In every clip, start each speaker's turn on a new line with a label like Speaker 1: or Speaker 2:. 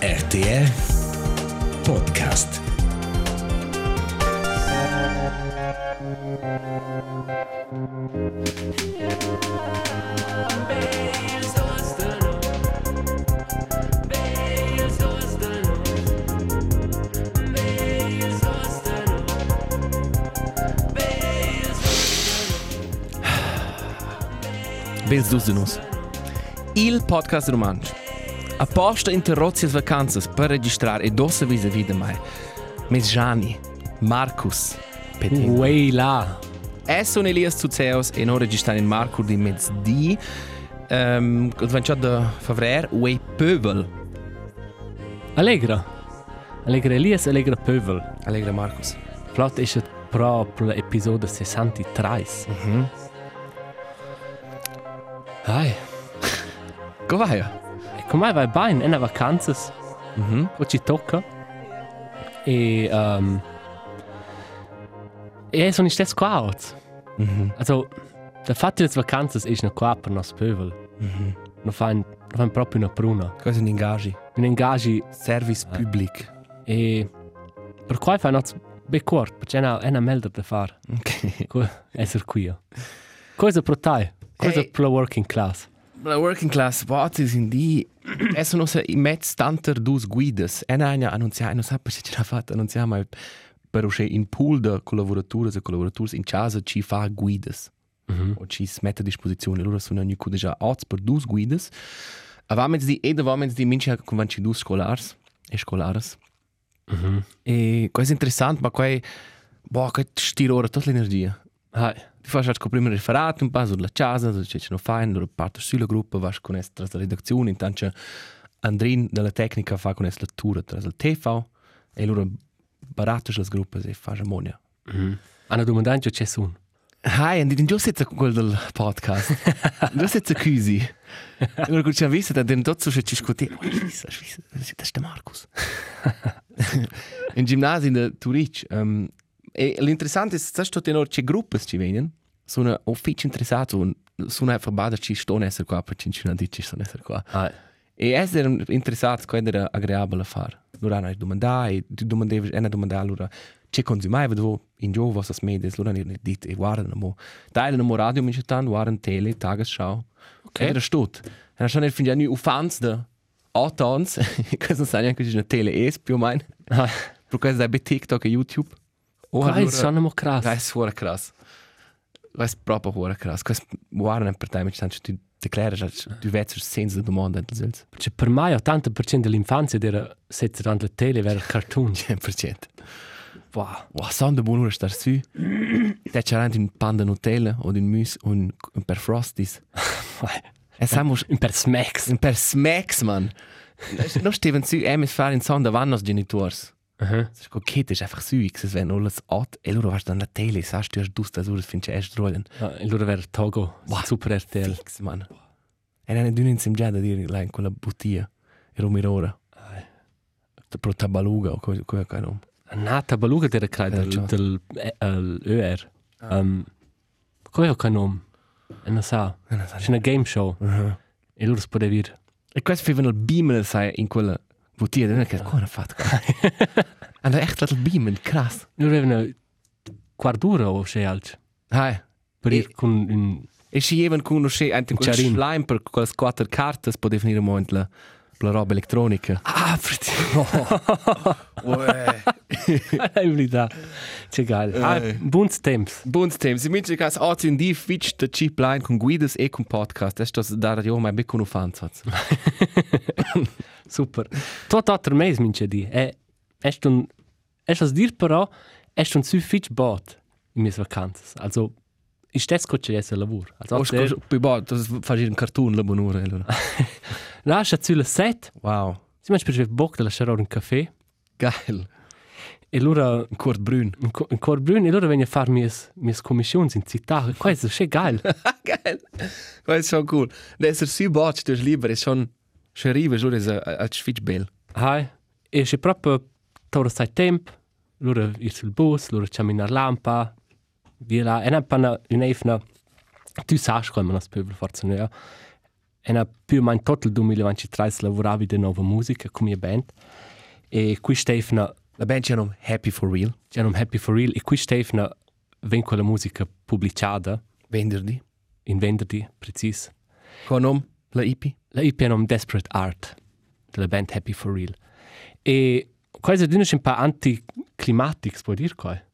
Speaker 1: der Podcast.
Speaker 2: Bils dus nus. Il podcast romansch. Apposta interrozias vacanzas per registrar e dossa visa vida mai. Mes Gianni, Marcus, Petin.
Speaker 3: Way là.
Speaker 2: Es son Elias Zuzeos e non registrar in Marco di mezzdi. Ehm, il 28 de febbraio, Way Pöbel.
Speaker 3: Allegra. Allegra Elias, Allegra Pövel.
Speaker 2: Allegra Marcus.
Speaker 3: Plot ist es proprio l'episodio 63.
Speaker 2: Mhm.
Speaker 3: Ai.
Speaker 2: Go vaia.
Speaker 3: E come vai bene? È una vacanza.
Speaker 2: Mhm.
Speaker 3: Qua ci tocca. E... Um, e sono stesso qua oggi.
Speaker 2: Mhm.
Speaker 3: Also, der Fatti des Vacanzas ist noch qua no per nos Pövel. No
Speaker 2: Mhm.
Speaker 3: Noch fein, noch fein proprio una no pruna.
Speaker 2: Cosa in ingagi?
Speaker 3: Un engagi
Speaker 2: Service public.
Speaker 3: e... Per qua fa noz becord, perché è una, è una melder da fare.
Speaker 2: Ok.
Speaker 3: Co- Esser qui. Cosa pro tai? Cosa
Speaker 2: Ej.
Speaker 3: pro working class?
Speaker 2: La working class voces in di es sono se i mezz tanter dus guidas. En aña annuncia, non sa per se ce la fatta annuncia mai per usce in pool de collaboratore e collaboratori in casa ci fa guidas.
Speaker 3: Mhm.
Speaker 2: O ci smette a disposizione. Loro sono ogni cude già oz per dus guidas. Avamens di ed avamens di minci con vanci dus scolars e scolaras.
Speaker 3: Mhm.
Speaker 2: E questo è interessante, ma qua è boh, che stiro ora tutta l'energia.
Speaker 3: Hai.
Speaker 2: Ti fai cercare prima il referato, un po' sulla casa, su ciò che non fai, allora parti sulla gruppa, vai con essa tra la redazione, intanto Andrin della tecnica fa con essa la tour tra il TV e allora baratti le gruppe e fai ammonia.
Speaker 3: Mhm. Hanno domandato c'è sun.
Speaker 2: Hai, Andrin, già siete con quel del podcast, già siete chiusi. Allora, quando ci hanno visto, abbiamo tutto su ci scuotere, ma schissa, schissa, siete ste Marcus. In ginnasio in Turic, um, e l'interessante è che tutte le c'è gruppi ci vengono, sono uffici interessati, sono a fabada ci stanno essere qua, perché ci hanno detto ci sono essere qua.
Speaker 3: Hai.
Speaker 2: E essere interessati, quando era agreabile a fare. Allora hanno domandato, e tu domandavi, hanno domandato allora, c'è consumai, vedo, in gioco, vostra media, allora hanno detto, e guardano, mo. Dai, hanno radio, mi c'è tanto, guardano tele, tagesschau. Ok. Era stut. Hanno schon fin janu ufans de Otons, cosa sa neanche c'è una tele es più o meno. Per questo da TikTok e YouTube. Oh,
Speaker 3: Quai sono mo crass.
Speaker 2: Quai suora crass. Quai proprio suora crass. Quai guarda per te, mi c'è tanto tu declaras, tu vets senza domanda, tu zils.
Speaker 3: Perché Cioè, per me 80% dell'infanzia era sette davanti alla tele vera cartoon.
Speaker 2: 100%.
Speaker 3: Wow.
Speaker 2: Wow, sono de buonura star su. Te c'è anche un pan de Nutella o un mousse o un un per Frosties. E siamo
Speaker 3: Un Eh, per smacks.
Speaker 2: un per Smacks, man. Noch steven eh, su, em es fahren son de vannos genitors.
Speaker 3: Mhm.
Speaker 2: Das ist kokett, ist einfach süß, es wenn alles at, ey, du warst dann der Tele, sagst du, du das Uhr findest erst rollen.
Speaker 3: Ah, Allora vera Togo.
Speaker 2: Wow.
Speaker 3: Super RTL.
Speaker 2: Fix, man. E eine dünne im Jada dir là in quella bottiglia e romirora. Pro tabaluga o cosa cosa cano.
Speaker 3: Nata Baluga era credo
Speaker 2: Eh, già.
Speaker 3: del, del eh, el ER. Um, Quai ho canom. E non sa. Uh-huh. C'è una game show. E loro si poteva dire.
Speaker 2: E questo fivano il beam sai in quella bottiglia, non è che cosa ha fatto. Hanno echt dat beam, krass.
Speaker 3: Nur eben eine Quardura o se alt.
Speaker 2: Hai.
Speaker 3: Per
Speaker 2: E-
Speaker 3: ir con un
Speaker 2: E si even conosce anche quel
Speaker 3: Ciarin.
Speaker 2: slime per quelle quattro carte, può definire un momento la la roba elettronica.
Speaker 3: Ah, fritz.
Speaker 2: Uè.
Speaker 3: Habilità. Che geil. Ah, buns temps.
Speaker 2: Buns Themen. Sie müssen ganz auch in die Fitch der Chip Line con Guides e con Podcast. Das ist das da Radio mein Becco no Fans hat.
Speaker 3: Super. Tot otter mes minche di. E est un est as dir però est un suffic bot in mis vacanzas. Also ist das kurz jetzt ein Labor. Also
Speaker 2: Das
Speaker 3: der
Speaker 2: ist bei das fast ein Cartoon la Bonura.
Speaker 3: Rasha zu la set.
Speaker 2: Wow.
Speaker 3: Sie meinst bitte bock da schau ein Kaffee.
Speaker 2: Geil.
Speaker 3: E lura
Speaker 2: Ein Kurt Brün.
Speaker 3: in Co- in Corbrun e lura wenn ihr fahr mis mis Kommissions in Città. Qua ist sche geil.
Speaker 2: Geil. Das ist schon cool. Der ist so bot, das lieber ist schon Scherive, so das als Schwitzbell.
Speaker 3: Hai, e c'è proprio tutto il tempo, loro ir sul bus, loro camminano alla lampa, via là, e non panna un'efna, tu sai come non spiego forse noi, eh? Era più o meno tutto il 2023 lavoravo di nuova musica con mia band. E qui Stefano,
Speaker 2: La band c'è un Happy for Real,
Speaker 3: c'era un Happy for Real, e qui Stefano venne quella musica pubblicata
Speaker 2: venerdì,
Speaker 3: in venerdì, preciso.
Speaker 2: con nome, la IP.
Speaker 3: La IP è un Desperate Art, della band Happy for Real. E quasi è un po' anticlimatico, si può dire qua.
Speaker 2: E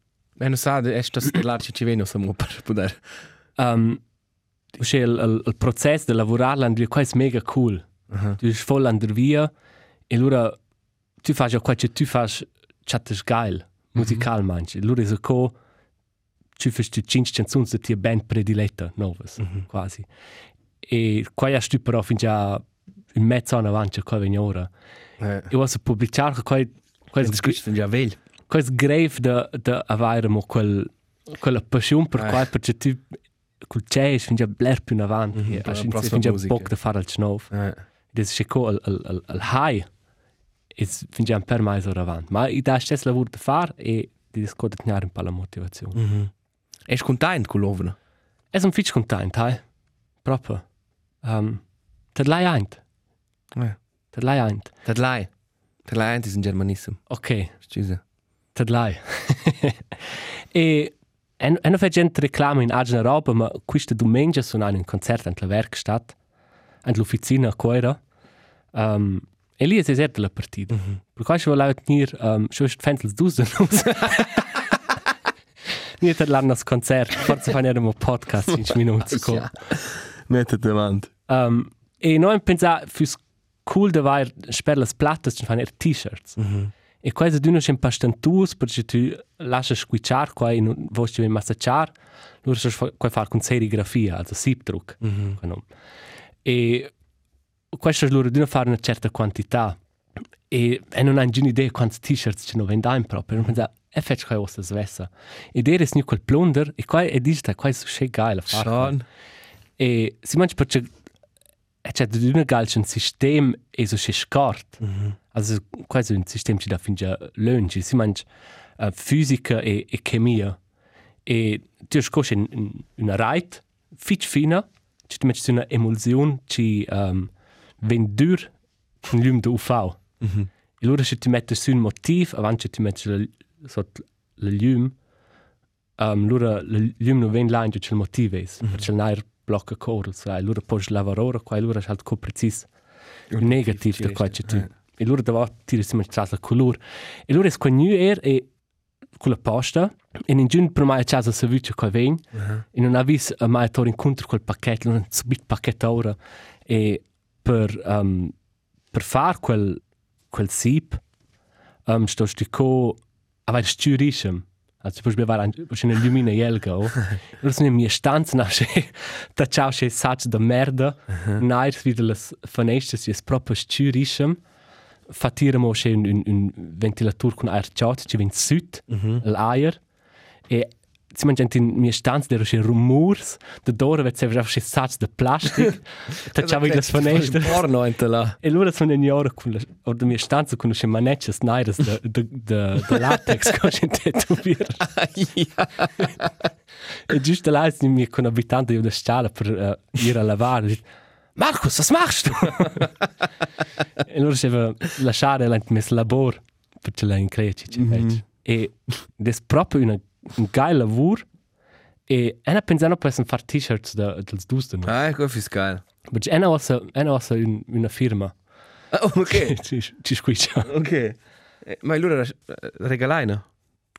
Speaker 2: non sa, è sta stellare che ci vengono siamo per poter...
Speaker 3: Um, cioè, il, il, il processo di lavorare è quasi mega cool.
Speaker 2: Aha.
Speaker 3: Tu sei full andr via e allora tu fai quello che tu fai, chattas geil, musical mm -hmm. mangi. Allora è co, tu fai le 5 canzoni della tua band prediletta, nuove, quasi. E qua è tu però fin già in mezzo anno avanti, qua vieni ora.
Speaker 2: Eh.
Speaker 3: Eu posso pubblicare che quel quel
Speaker 2: Das ist ja wild.
Speaker 3: quel grave da da avere mo quel quella passione per
Speaker 2: Eh.
Speaker 3: qual per che tu col c'è fin già bler più in avanti
Speaker 2: Mhm, per
Speaker 3: a
Speaker 2: la
Speaker 3: fin
Speaker 2: prossima
Speaker 3: fin già
Speaker 2: musica.
Speaker 3: bock da fare al snov
Speaker 2: Eh.
Speaker 3: des che co al al al, al high is fin già per mai so avanti ma i da stess lavoro da fare e di discorda tenere un po' la motivazione
Speaker 2: Mhm. Ești content cu lovna.
Speaker 3: è un fitch content hai proprio um te lai eint
Speaker 2: Eh.
Speaker 3: te lai eint
Speaker 2: Te lai. Te lai antes in germanism.
Speaker 3: okay
Speaker 2: Scusa.
Speaker 3: Tadlai. e en, en fa gente reclama in agna roba, ma questa domenica sono in un concerto in la Werkstatt, in l'ufficina a Coira. Um, e lì è deserta la partita. Mm -hmm. Per questo volevo tenere, um, schon ist Fentels dusen. Nicht allein das Konzert, forse fanno era un podcast, 5 Minuten. Ja.
Speaker 2: Mette te mand.
Speaker 3: Um, e noi pensiamo, fürs cool da war per le platte, ci fanno er t-shirts. E quasi tu non c'è un pastantus, perché tu lasci squicciare qua e non vuoi che massacciare, allora si può fare con serigrafia, also siebdruck.
Speaker 2: Mhm.
Speaker 3: Genau. E questo allora tu non fare una certa quantità e, e non hai nessuna idea quanti t-shirt ci non vendiamo proprio. Non pensi, e faccio qua vostra svessa. E dire è quel plunder e qua è digita, qua è so che geil a fare.
Speaker 2: Schon.
Speaker 3: E si manch perché e c'è di una galce un sistema e so si scort. Also quasi un sistema ci da fin già lungi, si manch uh, fisica e, e chemia. E tu scosci in, in, una reit fitch fina, ci ti metti su una emulsion ci um, vendur un lum da UV.
Speaker 2: Mhm.
Speaker 3: E allora se ti metti su un motiv, avanti ti metti la, so, la lum, um, allora il lumino vien là in giù c'è il motivo es, mm -hmm. c'è il nair blocca corl, sai, allora poi lavorare qua, allora c'è il co precis il negativo da qua c'è tu. E allora da tira si mangiare la color. E allora es qua nu er e con la posta e in giù per mai c'è la servizio qua vien e non ha vis a mai tor incontro col pacchetto, non subito pacchetto ora e per um, per far quel quel sip um, sto stico aber stürischem. Also zum Beispiel war ein schöner Lumine Jelga. Das sind mir Stanz nach da ciao che sacc da merda. Nein, wieder das Fenster ist proper stürischem. Fatiremo che un, un, un ventilator con air chat, ci vin süd, l'air. E si mangiano in mia stanza, der c'è rumors, da dora vet se vera che sacc da plastic. Da ciao il Fenster.
Speaker 2: Porno in te la.
Speaker 3: E allora sono in ora con la, o da mia stanza con le manette nere da, da, da, da latex che ho in tetuvier. e giusto là è mi con abitante della scala per uh, ir a lavare. Dice, Marcus, was machst du? e allora c'era lasciare la mes labor per ce la in creci, c'è mm -hmm. E des proprio una, un geil lavoro e ena pensano per fare t-shirts da, dels dusten.
Speaker 2: Ah, che fiscal.
Speaker 3: Perché ena ossa, ena ossa un, una firma.
Speaker 2: Ah, ok.
Speaker 3: ci, ci squiccia.
Speaker 2: Ok. Eh, Ma allora regalai no?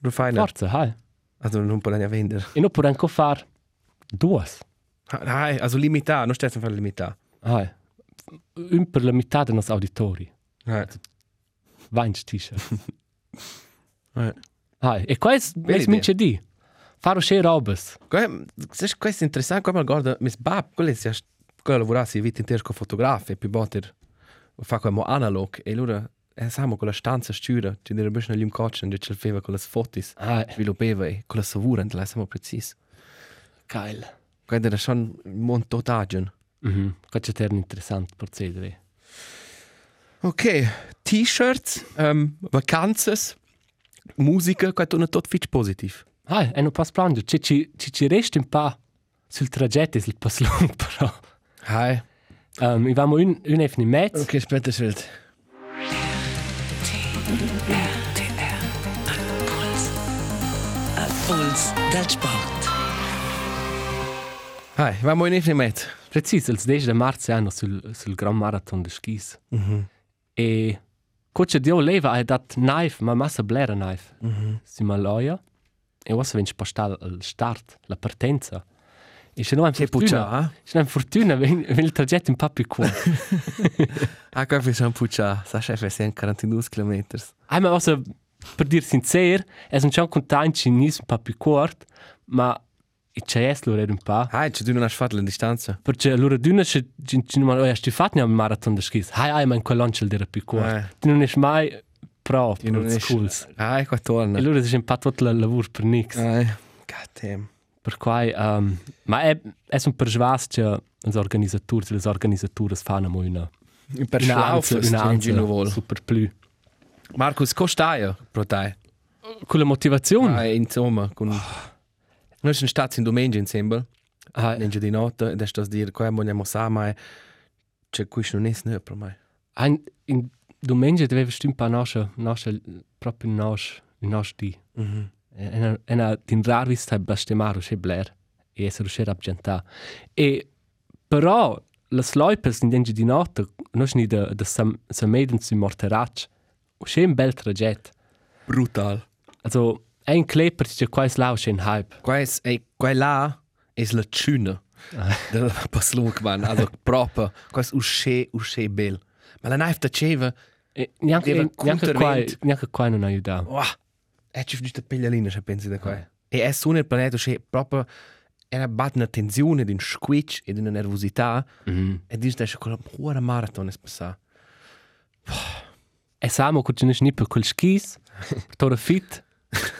Speaker 2: Lo fai no?
Speaker 3: Forza, hai.
Speaker 2: Also non puoi neanche vendere.
Speaker 3: E non puoi anche fare due.
Speaker 2: Ah, also limita, non stai a fare limita.
Speaker 3: Hai. Un per la metà dei nostri auditori.
Speaker 2: Ah.
Speaker 3: Vainci t-shirt.
Speaker 2: Eh.
Speaker 3: Hai. E questo
Speaker 2: Bella
Speaker 3: è
Speaker 2: idea.
Speaker 3: mince di. Fare uscire robes.
Speaker 2: Qua- Sai, questo è interessante, qua guarda, mis bab, quello è quello lavorassi vita intera con fotografi, più botter fa come analog e allora e siamo con la stanza sciura, ci dire bisogno di un coccio, ci faceva con le foto,
Speaker 3: Hai.
Speaker 2: sviluppava e eh, con la savura, e là siamo precisi.
Speaker 3: Geil.
Speaker 2: Quando era schon un monte otagen.
Speaker 3: Mhm. Questo è un interessante procedere.
Speaker 2: Ok, t-shirts, um, vacanzas, musica, qua torna tutto fitch positivo.
Speaker 3: Hai. E non posso piangere. e Ci, ci, ci, ci resta un po' sul tragitto, sul pass lungo però.
Speaker 2: Hai.
Speaker 3: Um, ich war mal in, in Efni Metz.
Speaker 2: Okay, Spetterschild.
Speaker 4: TR Puls. A Puls del Sport.
Speaker 5: Hi, war mal nicht mit.
Speaker 3: Precis, il 10 di marzo hanno sul, sul Gran Marathon di Skis.
Speaker 2: Mhm.
Speaker 3: E coach Dio leva ha dat knife, ma massa blera knife.
Speaker 2: Mhm.
Speaker 3: Si maloia. E ora venne spostata al start, la partenza. E se non hai
Speaker 2: Che
Speaker 3: fortuna,
Speaker 2: puccia, eh?
Speaker 3: se non hai fortuna, venne il tragitto un po' più corto.
Speaker 2: Ah, qua fai un puccia, sa chef, sei in 42 km.
Speaker 3: Ah, ma ora, per dir sincero, è un po' contento che non è un po' più corto, ma c'è essere un po'.
Speaker 2: Ah, c'è tu non hai fatto la distanza.
Speaker 3: Perché allora tu non ci non hai fatto neanche un marathon di skis. Hai hai ma in quell'ancel di
Speaker 2: Eh.
Speaker 3: rapicor. Tu non sei mai pro per
Speaker 2: non
Speaker 3: le scuole.
Speaker 2: Ah, qua
Speaker 3: E
Speaker 2: torna.
Speaker 3: allora si è imparato il lavoro per niente.
Speaker 2: Ah, god damn.
Speaker 3: Per cui, ehm, ma è, è un persuaso che gli organizzatori, le organizzatori fanno mo una
Speaker 2: Per Schlaufe,
Speaker 3: una
Speaker 2: Gino
Speaker 3: anza
Speaker 2: wohl.
Speaker 3: super più.
Speaker 2: Markus, costa ja, pro te.
Speaker 3: Con la motivazione.
Speaker 2: Ah, insomma, con... Noi siamo stati in domenica insieme,
Speaker 3: Ah,
Speaker 2: in di notte, ed è stato dire, qua vogliamo sapere, c'è qui non è snö per me.
Speaker 3: ah, in, in ja, domenica doveva stare un po' nostra, nostra, proprio nostra, nostra di.
Speaker 2: Mhm.
Speaker 3: Ena, ena din rar vis tai blastemaro che bler e se riuscire a piantà. E però le sloipes in denge di notte, non ni da da sam sameden si morterach. O che un bel trajet.
Speaker 2: Brutal.
Speaker 3: Also ein Kleper che quais lau che hype.
Speaker 2: Qua è, e, qua è là, è la cina della Pasluk, man, also proprio, qua è uscè, uscè bel. Ma la knife taceva,
Speaker 3: E neanche
Speaker 2: Deva
Speaker 3: neanche quai
Speaker 2: countervent.
Speaker 3: neanche quai non aiuta.
Speaker 2: oh, è ci finita piglialina, se pensi da qua. E è su nel pianeta, c'è proprio, era bat una tensione, di un squitch e di una nervosità,
Speaker 3: Mm.
Speaker 2: e dici, da c'è quella buona marathon è passata.
Speaker 3: E samo che ci ne per quel skis, per tore fit.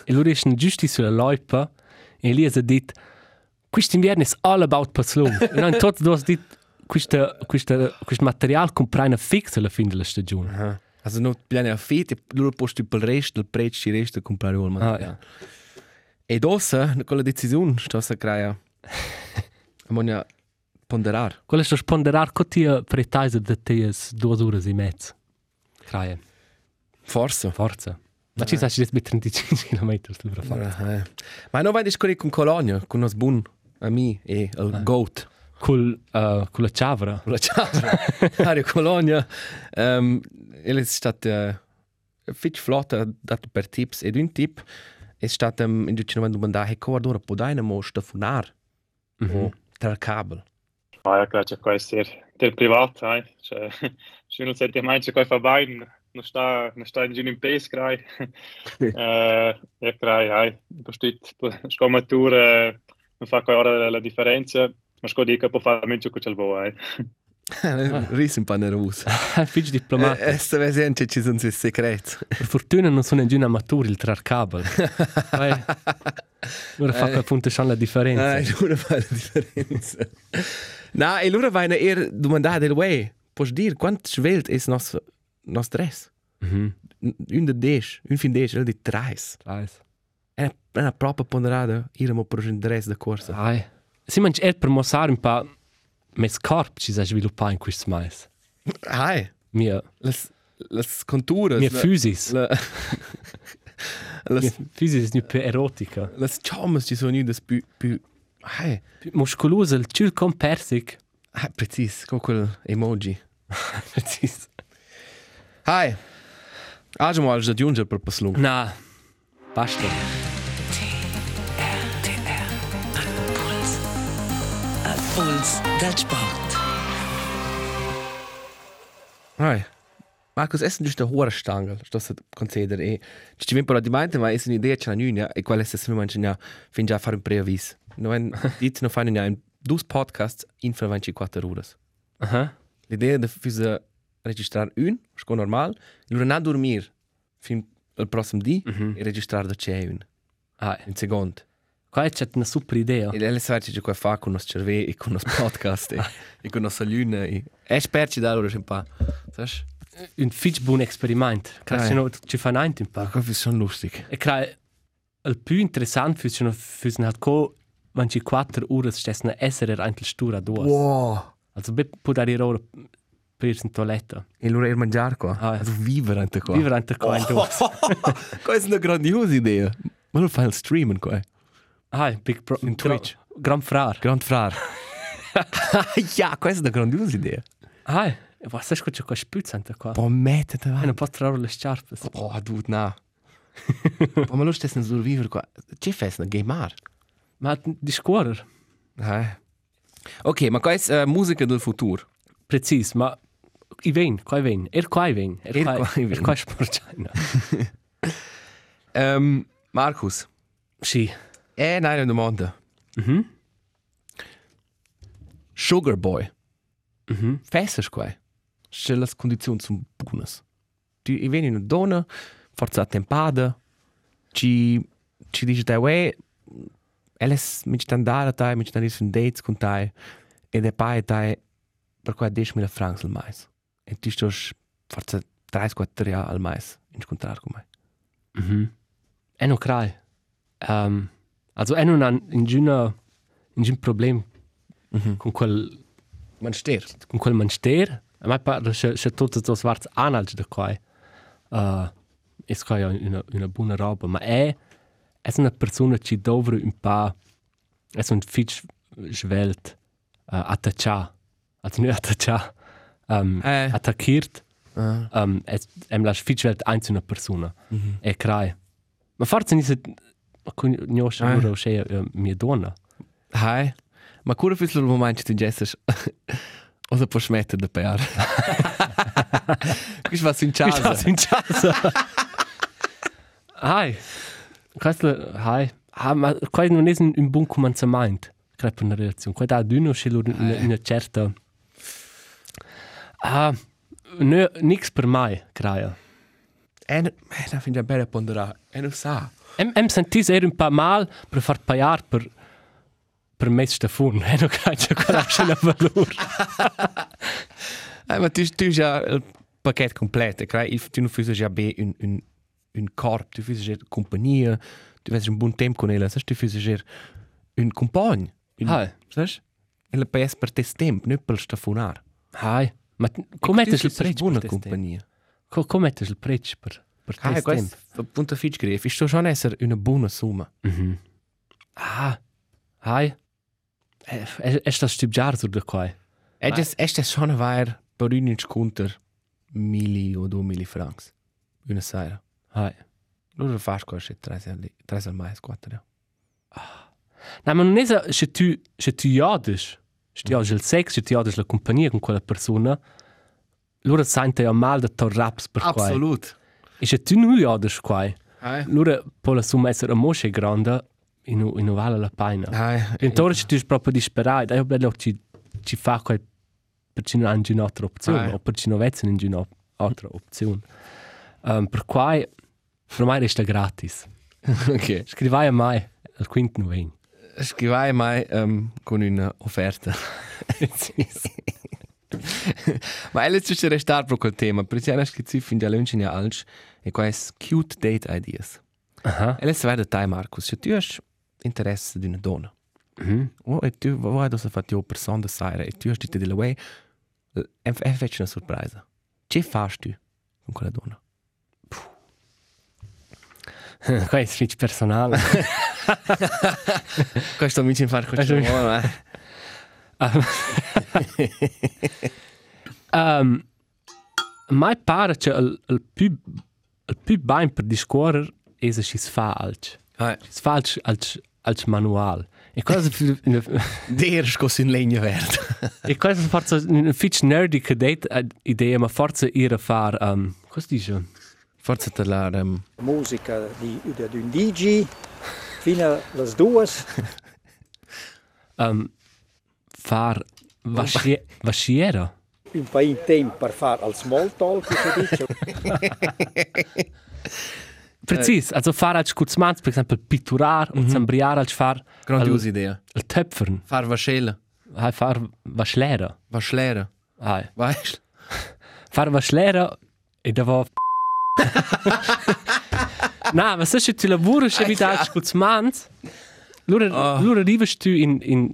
Speaker 3: E loro sono giusti sulla loipa e lì ha detto Quest'inverno è all about Paslum. E noi tutti due abbiamo detto questo, questo, questo materiale comprai una fix alla fine della stagione.
Speaker 2: Aha. Also no, plane a fit, e loro posti pel resto, il prezzo, il resto, comprare un
Speaker 3: Ah,
Speaker 2: materiale.
Speaker 3: ja.
Speaker 2: E dosa, con la decisione, sto a creare. Ammonia ponderar.
Speaker 3: Quello è sponderare che ti pretese da te due ore e mezzo. Craia,
Speaker 2: Forse.
Speaker 3: forza. Ma ci sa ci deve 35 km sopra fare.
Speaker 2: Ah, eh. Ma non vai a scorrere con Colonia, con nos bun ami e il goat.
Speaker 3: Col, uh, con la ciavra.
Speaker 2: La ciao. Mario Colonia. Ehm, ele è stata fit eh, flotta dato per tips ed un tip è stata um, in dice non domanda che cosa ora può dai mo stafonar
Speaker 3: Mhm.
Speaker 2: o tra cable.
Speaker 6: Ah, ja, klar, ich habe sehr, sehr privat. Hey. Schön, dass ihr meint, ich habe vorbei. Noch da, noch da in Juni Pace grei. äh, ja, grei, hey. Bestimmt, ich komme Tour, äh, non fa quale ora la differenza, ma scodi che può fare meglio che c'è il boh, eh.
Speaker 2: Risi un po' nervoso.
Speaker 3: Figi diplomatico.
Speaker 2: Ah. Eh, Sta vedendo ci sono i segreti.
Speaker 3: Per fortuna non sono giù un amatore il trarcabel. Ora fa
Speaker 2: Eh.
Speaker 3: per appunto schon la differenza.
Speaker 2: Nein, nur eine Differenz. Na, e allora vai eher domandare del way. Posso dire quanto svelt è nos nos dress?
Speaker 3: Mhm.
Speaker 2: Un de des, un fin des, el di trais.
Speaker 3: Weiß.
Speaker 2: È una propria ponderada iremo per un dress da corsa.
Speaker 3: Sai. Si mangi er per mossare un pa mes corp ci sa sviluppa in questo mais.
Speaker 2: Ai,
Speaker 3: Mia
Speaker 2: las las conturas.
Speaker 3: mia physis.
Speaker 2: la,
Speaker 3: Mia
Speaker 2: las
Speaker 3: physis nu più erotica.
Speaker 2: las chomas ci sono des più più ai,
Speaker 3: Più muscolosa il cil compersic.
Speaker 2: ai precis, con quel emoji.
Speaker 3: Precis.
Speaker 2: Ai. Agemo al giungere per paslung.
Speaker 3: Na. Basta.
Speaker 4: TR Puls. A Puls del Sport.
Speaker 2: Hai. Markus, essen ist der hohe Stangel, das ist Konzeder. eh. Ich stimme aber die meinte, weil es eine Idee ist, eine ja, ich weiß, dass wir Menschen ja, finde ich, einfach ein Präavis. Nur wenn, die noch fangen ja, in dus Podcasts, in 24 Uhr.
Speaker 3: Aha.
Speaker 2: L'idea de fisa registrar un, sco normal, lura na dormir fin il prossimo di e registrar da c'è un,
Speaker 3: Ai.
Speaker 2: in second.
Speaker 3: Qua c'è una super idea.
Speaker 2: E lei sa che qua fa con nos cerve e con nos podcast e, e con nos lune e e sperci da loro un pa. Sash?
Speaker 3: Un fitch buon experiment.
Speaker 2: Dai.
Speaker 3: Crash no ci fa niente in pa.
Speaker 2: Ah, questo è son lustig.
Speaker 3: E crai il più interessante fu fu halt co manchi quattro ore stessna essere antel stura dos.
Speaker 2: Wow.
Speaker 3: Also, bi poter ir ora per in toiletta.
Speaker 2: E allora il mangiare qua?
Speaker 3: Ah, ja.
Speaker 2: Also vivere anche qua.
Speaker 3: Vivere anche qua in dos.
Speaker 2: Questa è una grandiosa idea. Ma lo fai il streaming qua?
Speaker 3: Ah, big pro.
Speaker 2: In Twitch.
Speaker 3: Gran, gran frar.
Speaker 2: Grand Frar. ja, questa è una grandiosa idea.
Speaker 3: Ah, was ist gut, was spürt anche qua?
Speaker 2: Boh, mettete
Speaker 3: Hai
Speaker 2: avanti.
Speaker 3: un po' trarre le sciarpe.
Speaker 2: Boh, dude, no. Boh, ma lo stesso non sopravvivere qua. C'è festa, gamar.
Speaker 3: Ma di scuola.
Speaker 2: Eh. Ok, ma questa è uh, musica del futuro.
Speaker 3: Precis, ma i vein, qua i vein. Er qua i vein.
Speaker 2: Er
Speaker 3: Er qua
Speaker 2: qua i
Speaker 3: i vein.
Speaker 2: vein.
Speaker 3: Er qua sportscheina.
Speaker 2: Um, Marcus,
Speaker 3: Sì.
Speaker 2: è una domanda.
Speaker 3: Mhm.
Speaker 2: Sugar Boy.
Speaker 3: Mhm.
Speaker 2: Fessas quai. Se las condizioni sono buone. Tu e vieni una donna, forza tempada, ci ci dice te uè, eles mi ci andare a te, mi ci andare su un dates con te ed è pai te per quai 10.000 francs al mais. E tu sto forza 3-4 anni al mais in scontrar con me.
Speaker 3: Mhm. Er no krai. Ähm, also er no an in Gina in Gina Problem
Speaker 2: Mhm.
Speaker 3: con quel
Speaker 2: Man stir.
Speaker 3: con quel manster. A me pare che che tutto sto schwarz analge da qua. Eh è qua ja una una buona roba, ma e, è è una persona che dovre un pa è un fitch schwelt uh, attaccia. Also nicht attaccia. Ähm
Speaker 2: Eh.
Speaker 3: attackiert.
Speaker 2: Ah.
Speaker 3: Ähm es em la fitch schwelt einzelne persona. Mhm. E crai. Ma forse nicht ma con io
Speaker 2: Eh.
Speaker 3: sicuro che è mia äh, donna.
Speaker 2: Hai. Ma cura fis lo moment ci gestes. Osa po schmetter de pear. Quis was in
Speaker 3: Ich
Speaker 2: casa.
Speaker 3: lasse ihn Chance. Hi. Questo, hi. Ah, ma qua non è un buon cominciamento, credo, per una relazione. Qua da d'uno c'è una, una certa... Ah, no, nix per mai, credo.
Speaker 2: En, eh, da finde ich besser ponderar. En och sa.
Speaker 3: Em, em sentis er un pa mal per far pagar per... per mes stafun. E non credo che quella c'è una valore.
Speaker 2: Nej, men du, du ja paket komplett. Ik krijg, du nu fysisch ja be un, un, un korp, du fysisch ja compagnie, du weißt un bon tempo con ella, sas du fysisch ja un compagne.
Speaker 3: Hai.
Speaker 2: Sas? Ella paes per tes temp, nu pel stafonar.
Speaker 3: Hi. Ma come è il prezzo
Speaker 2: buona
Speaker 3: per questo?
Speaker 2: compagnie.
Speaker 3: Come è il prezzo per, per
Speaker 2: Hai,
Speaker 3: questo tempo?
Speaker 2: questo punto fitch gref, ist schon esser una buona summa.
Speaker 3: Mhm. Ah, hi. Ist das Typ Jar so dabei?
Speaker 2: Ed es est es schon war per un inch kunter mili o du mili francs. Una sera.
Speaker 3: Hi.
Speaker 2: Loro fas quasi tres al tres al mais quattro.
Speaker 3: Nein, man nicht, dass du, dass du ja dich, dass du ja den Sex, dass du ja dich la Compagnie con quella persona, loro sente ja mal da tor raps per quai.
Speaker 2: Absolut.
Speaker 3: Ist ja tu nu ja dich quai.
Speaker 2: Hai.
Speaker 3: Loro po la summa essere a mosche grande, in u- in vale la pena.
Speaker 2: Hai.
Speaker 3: Intorno ci tu sei proprio disperato, è bello ci ci fa quel per ci non hanno un'altra opzione,
Speaker 2: Ah.
Speaker 3: o per ci non vezzano in un'altra opzione. Um, per cui, per me resta gratis.
Speaker 2: Ok.
Speaker 3: Scrivai a mai, al quinto novembre.
Speaker 2: Scrivai mai um, con una offerta. Ma adesso ci restare per quel tema, perché è scritto fin da lunch in alch e qua è cute date ideas.
Speaker 3: Aha.
Speaker 2: Adesso vai da te Marcus, se tu hai interesse di una donna.
Speaker 3: Mhm.
Speaker 2: Oh, e tu vuoi da se fatti o persona da sera e tu hai detto della way e faccio una sorpresa. Che fai tu con quella donna?
Speaker 3: Qua è switch personale.
Speaker 2: Questo mi ci fa questo.
Speaker 3: um, mai pare che il, il più il più ben per discorrere è se si fa alc.
Speaker 2: Ah.
Speaker 3: Si fa alc alc alc manual. E cosa
Speaker 2: Der ist così in legna verde.
Speaker 3: E questa è forse una fitch nerdy che date eh, idea, ma forse era far... Um, cosa dice?
Speaker 2: Forse te la um,
Speaker 7: musica di, da d'un DJ fino alle due
Speaker 3: Um, far vascie- vasciera.
Speaker 7: un po' in tempo per fare al small talk si dice
Speaker 3: Precis, also far als Kurzmanns, per esempio pitturar, mm -hmm. zambriar, als far
Speaker 2: grandiosa idea.
Speaker 3: il töpfern,
Speaker 2: Far vascella,
Speaker 3: hai far vasclera.
Speaker 2: vasclera,
Speaker 3: Hai.
Speaker 2: weißt?
Speaker 3: Far vasclera e da va... Na, ma se se ti lavoro se vi da als Kurzmanns, lura,
Speaker 2: Ah.
Speaker 3: lura rivest tu in, in,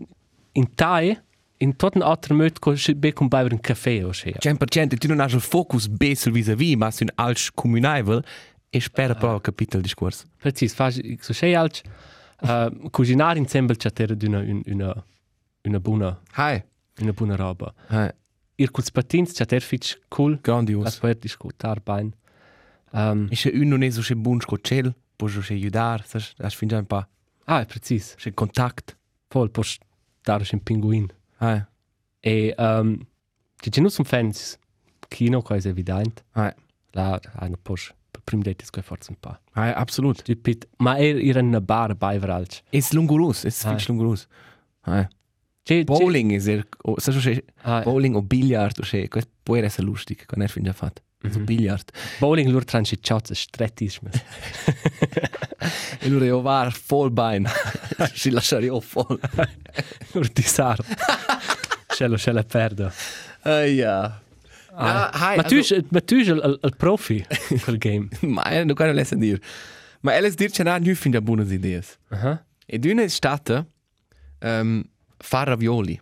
Speaker 3: in tai, in toten alter möt ko še be kum baiver un café ja. o še.
Speaker 2: 100% tu non hai il focus besser vis-à-vis, ma su un alch comunaivel e spera prova capire il discorso.
Speaker 3: Precis, fas so še alch uh, cucinar insemble chatter d'una un, una una buona
Speaker 2: Hai,
Speaker 3: una buona roba.
Speaker 2: hai,
Speaker 3: Ir kuls patins chatter fitch cool.
Speaker 2: grandios.
Speaker 3: Das war diskutar bein. Um,
Speaker 2: E se uno ne so se buon scocel, può so se aiutare, sai, hai fin già un po'
Speaker 3: ah, precis.
Speaker 2: se contact.
Speaker 3: Voll post dar un pinguin.
Speaker 2: Hai,
Speaker 3: E um, ci ci nus un fans kino quasi evident.
Speaker 2: hai,
Speaker 3: La hanno post per prim det is quei forza un pa.
Speaker 2: hai, absolut.
Speaker 3: Di pit, ma er ir in una bar baiver alch.
Speaker 2: Es lungurus, es
Speaker 3: Hai.
Speaker 2: fin lungurus. Hai.
Speaker 3: Ci
Speaker 2: Bowling is er, o- sai so se
Speaker 3: Ah,
Speaker 2: bowling o billiard o se, questo può essere lustig, con er fin già fatto. Mm -hmm. Billiard.
Speaker 3: bowling lur transi chats strettismus.
Speaker 2: E lui io var full bein. Si lasciare io full.
Speaker 3: lur disar. Cello ce la perdo.
Speaker 2: Aia.
Speaker 3: Ah,
Speaker 2: Ja, hai,
Speaker 3: ma tu
Speaker 2: also-
Speaker 3: ma tu al al profi quel game.
Speaker 2: Ma non kan läsa dir. Ma alles dir c'è nu fin da buonas ideas.
Speaker 3: Aha.
Speaker 2: E d'una è stata um, far ravioli.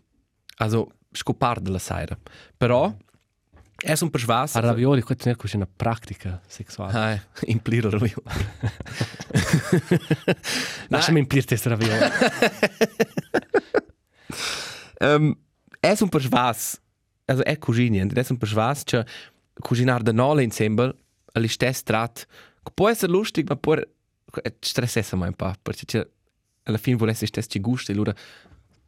Speaker 2: Also scopar della sera. er. Però è un per schwas.
Speaker 3: A ravioli quet ne cusina pratica sexuale.
Speaker 2: Ah, in pliro ravioli.
Speaker 3: Lasciami in pirte ravioli.
Speaker 2: Um, es un perschwas, also è cuginien, es un perschwas che cuginar da nole insemble ali stes trat, che può essere lustig, ma può er, stressesse mai un po', perché c'è alla fine volesse stes ci gusto, e allora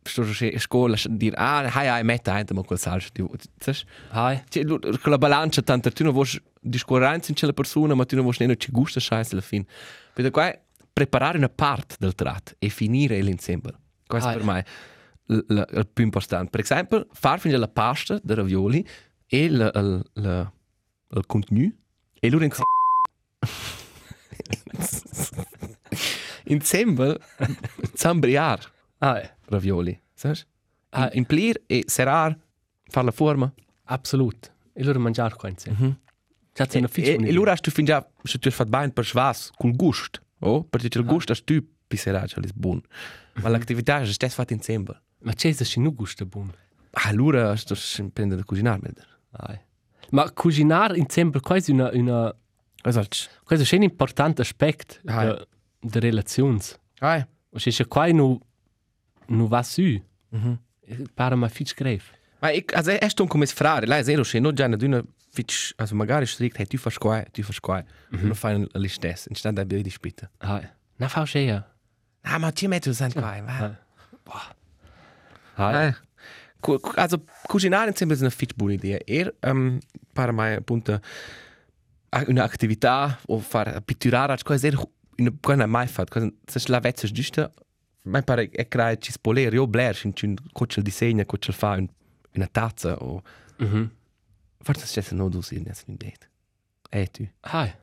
Speaker 2: sto a scuola a dire ah, hai hai metta hai ma quel salsa, ti sai?
Speaker 3: Hai.
Speaker 2: C'è la bilancia tanto tu non vuoi discorrere in quella persona, ma tu non vuoi nemmeno ci gusto scheiße alla fine. Perché qua preparare una parte del trat e finire l'insemble. Questo
Speaker 3: Ah,
Speaker 2: per
Speaker 3: ja.
Speaker 2: me l- l- il più importante. Per esempio, far finire la pasta dei ravioli e il, il, il, il contenuto e loro in insemble zambriare
Speaker 3: Ah,
Speaker 2: ravioli, sai?
Speaker 3: Ah,
Speaker 2: Implir e serrar, far la forma.
Speaker 3: absolut. E loro mangiar qua insieme.
Speaker 2: Mhm.
Speaker 3: C'ha una
Speaker 2: E,
Speaker 3: fitta.
Speaker 2: e allora tu fin già, se tu fai bene per schwas, col gusto, oh? perché il gusto è tu pisserà, cioè è buono. Ma l'attività è stessa fatta insieme.
Speaker 3: ma c'è se ci nu gusta buon.
Speaker 2: Allora sto prendendo da cucinare meglio.
Speaker 3: Hai. Ma cucinar insieme quasi una una
Speaker 2: Esatto.
Speaker 3: quasi un importante aspetto
Speaker 2: Ah, ja.
Speaker 3: de de relazions.
Speaker 2: Ah,
Speaker 3: Und ist ja kein nu nu was sü.
Speaker 2: Mhm.
Speaker 3: Para ma fitch greif.
Speaker 2: ma è, also, è stato come sfrare, là è zero, se non già ne duna, fitch, also magari strict, hey, tu fai qua, eh, tu fai qua, non fai le stesse, in stand da bere di spitta.
Speaker 3: Hai. Na fau schea.
Speaker 2: Ah, ma ci metti il sangue qua, eh, va.
Speaker 3: Hai.
Speaker 2: Ah. Cu- cu- Also, cucinare insieme è una fitch buona idea. Er, um, per me, appunto, a- una attività o far pitturare, cioè, è una cosa mai fatta. Se la vezza è giusta, mi pare che crea ci spolere, io bler, con il disegno, con il fa un- una tazza o...
Speaker 3: Mhm.
Speaker 2: Forse c'è se non usi, non è un'idea. E tu,
Speaker 3: Hai.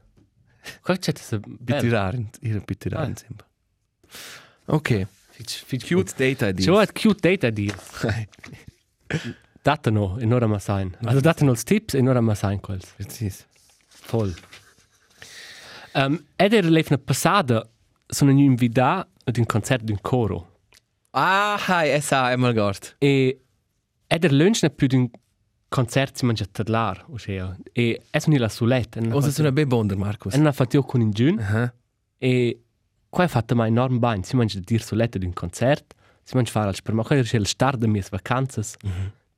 Speaker 3: Qual c'è se bitte
Speaker 2: pitturare, in- ir a pitturare
Speaker 3: Ah.
Speaker 2: insieme. Ok,
Speaker 3: fitch fitch
Speaker 2: cute data di...
Speaker 3: So hat cute data di. Daten no, in ora ma sein. Also daten als Tipps in ora ma sein quels.
Speaker 2: Precis.
Speaker 3: Voll. Ähm, Eder lebt eine Passade, so eine neue Vida und ein Konzert d'un Coro.
Speaker 2: Ah, hi, essa, einmal gehört.
Speaker 3: E Eder lönt nicht für den Konzert, sie man ja tadlar, ossia. E es unila sulet.
Speaker 2: O se sono ben bonder, Marcus.
Speaker 3: En la fatio con in giun.
Speaker 2: Aha.
Speaker 3: E qua è fatta ma enorm bain. Si mangia dir sulet d'un concert. Si mangia fare al sperma. Qua era il star de mies vacanzas.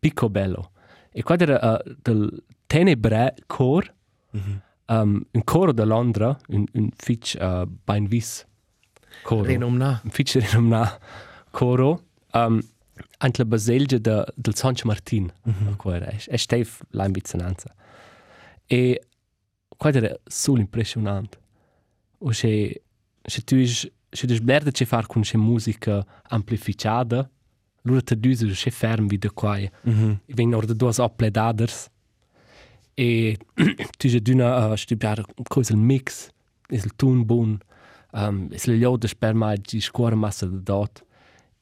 Speaker 3: Pico bello. E qua era uh, del Tenebre Cor. Um, un coro da Londra. Un, un fitch uh, bain vis. Coro.
Speaker 2: Renomna.
Speaker 3: Un fitch renomna coro. Um, Ant la baselgia de, del Sancho Martin. Qua era. E steif l'ambizinanza. E qua era sul impressionante. O se, se tu is, se tu sblerda ce far con se musica amplificada, lura te düse se ferm wie de quai. Mhm. Ich bin orde duas appledaders. E tu je duna uh, studiare cos il mix, is il tun bun, um, is le jode sper mai di scuola massa de dot.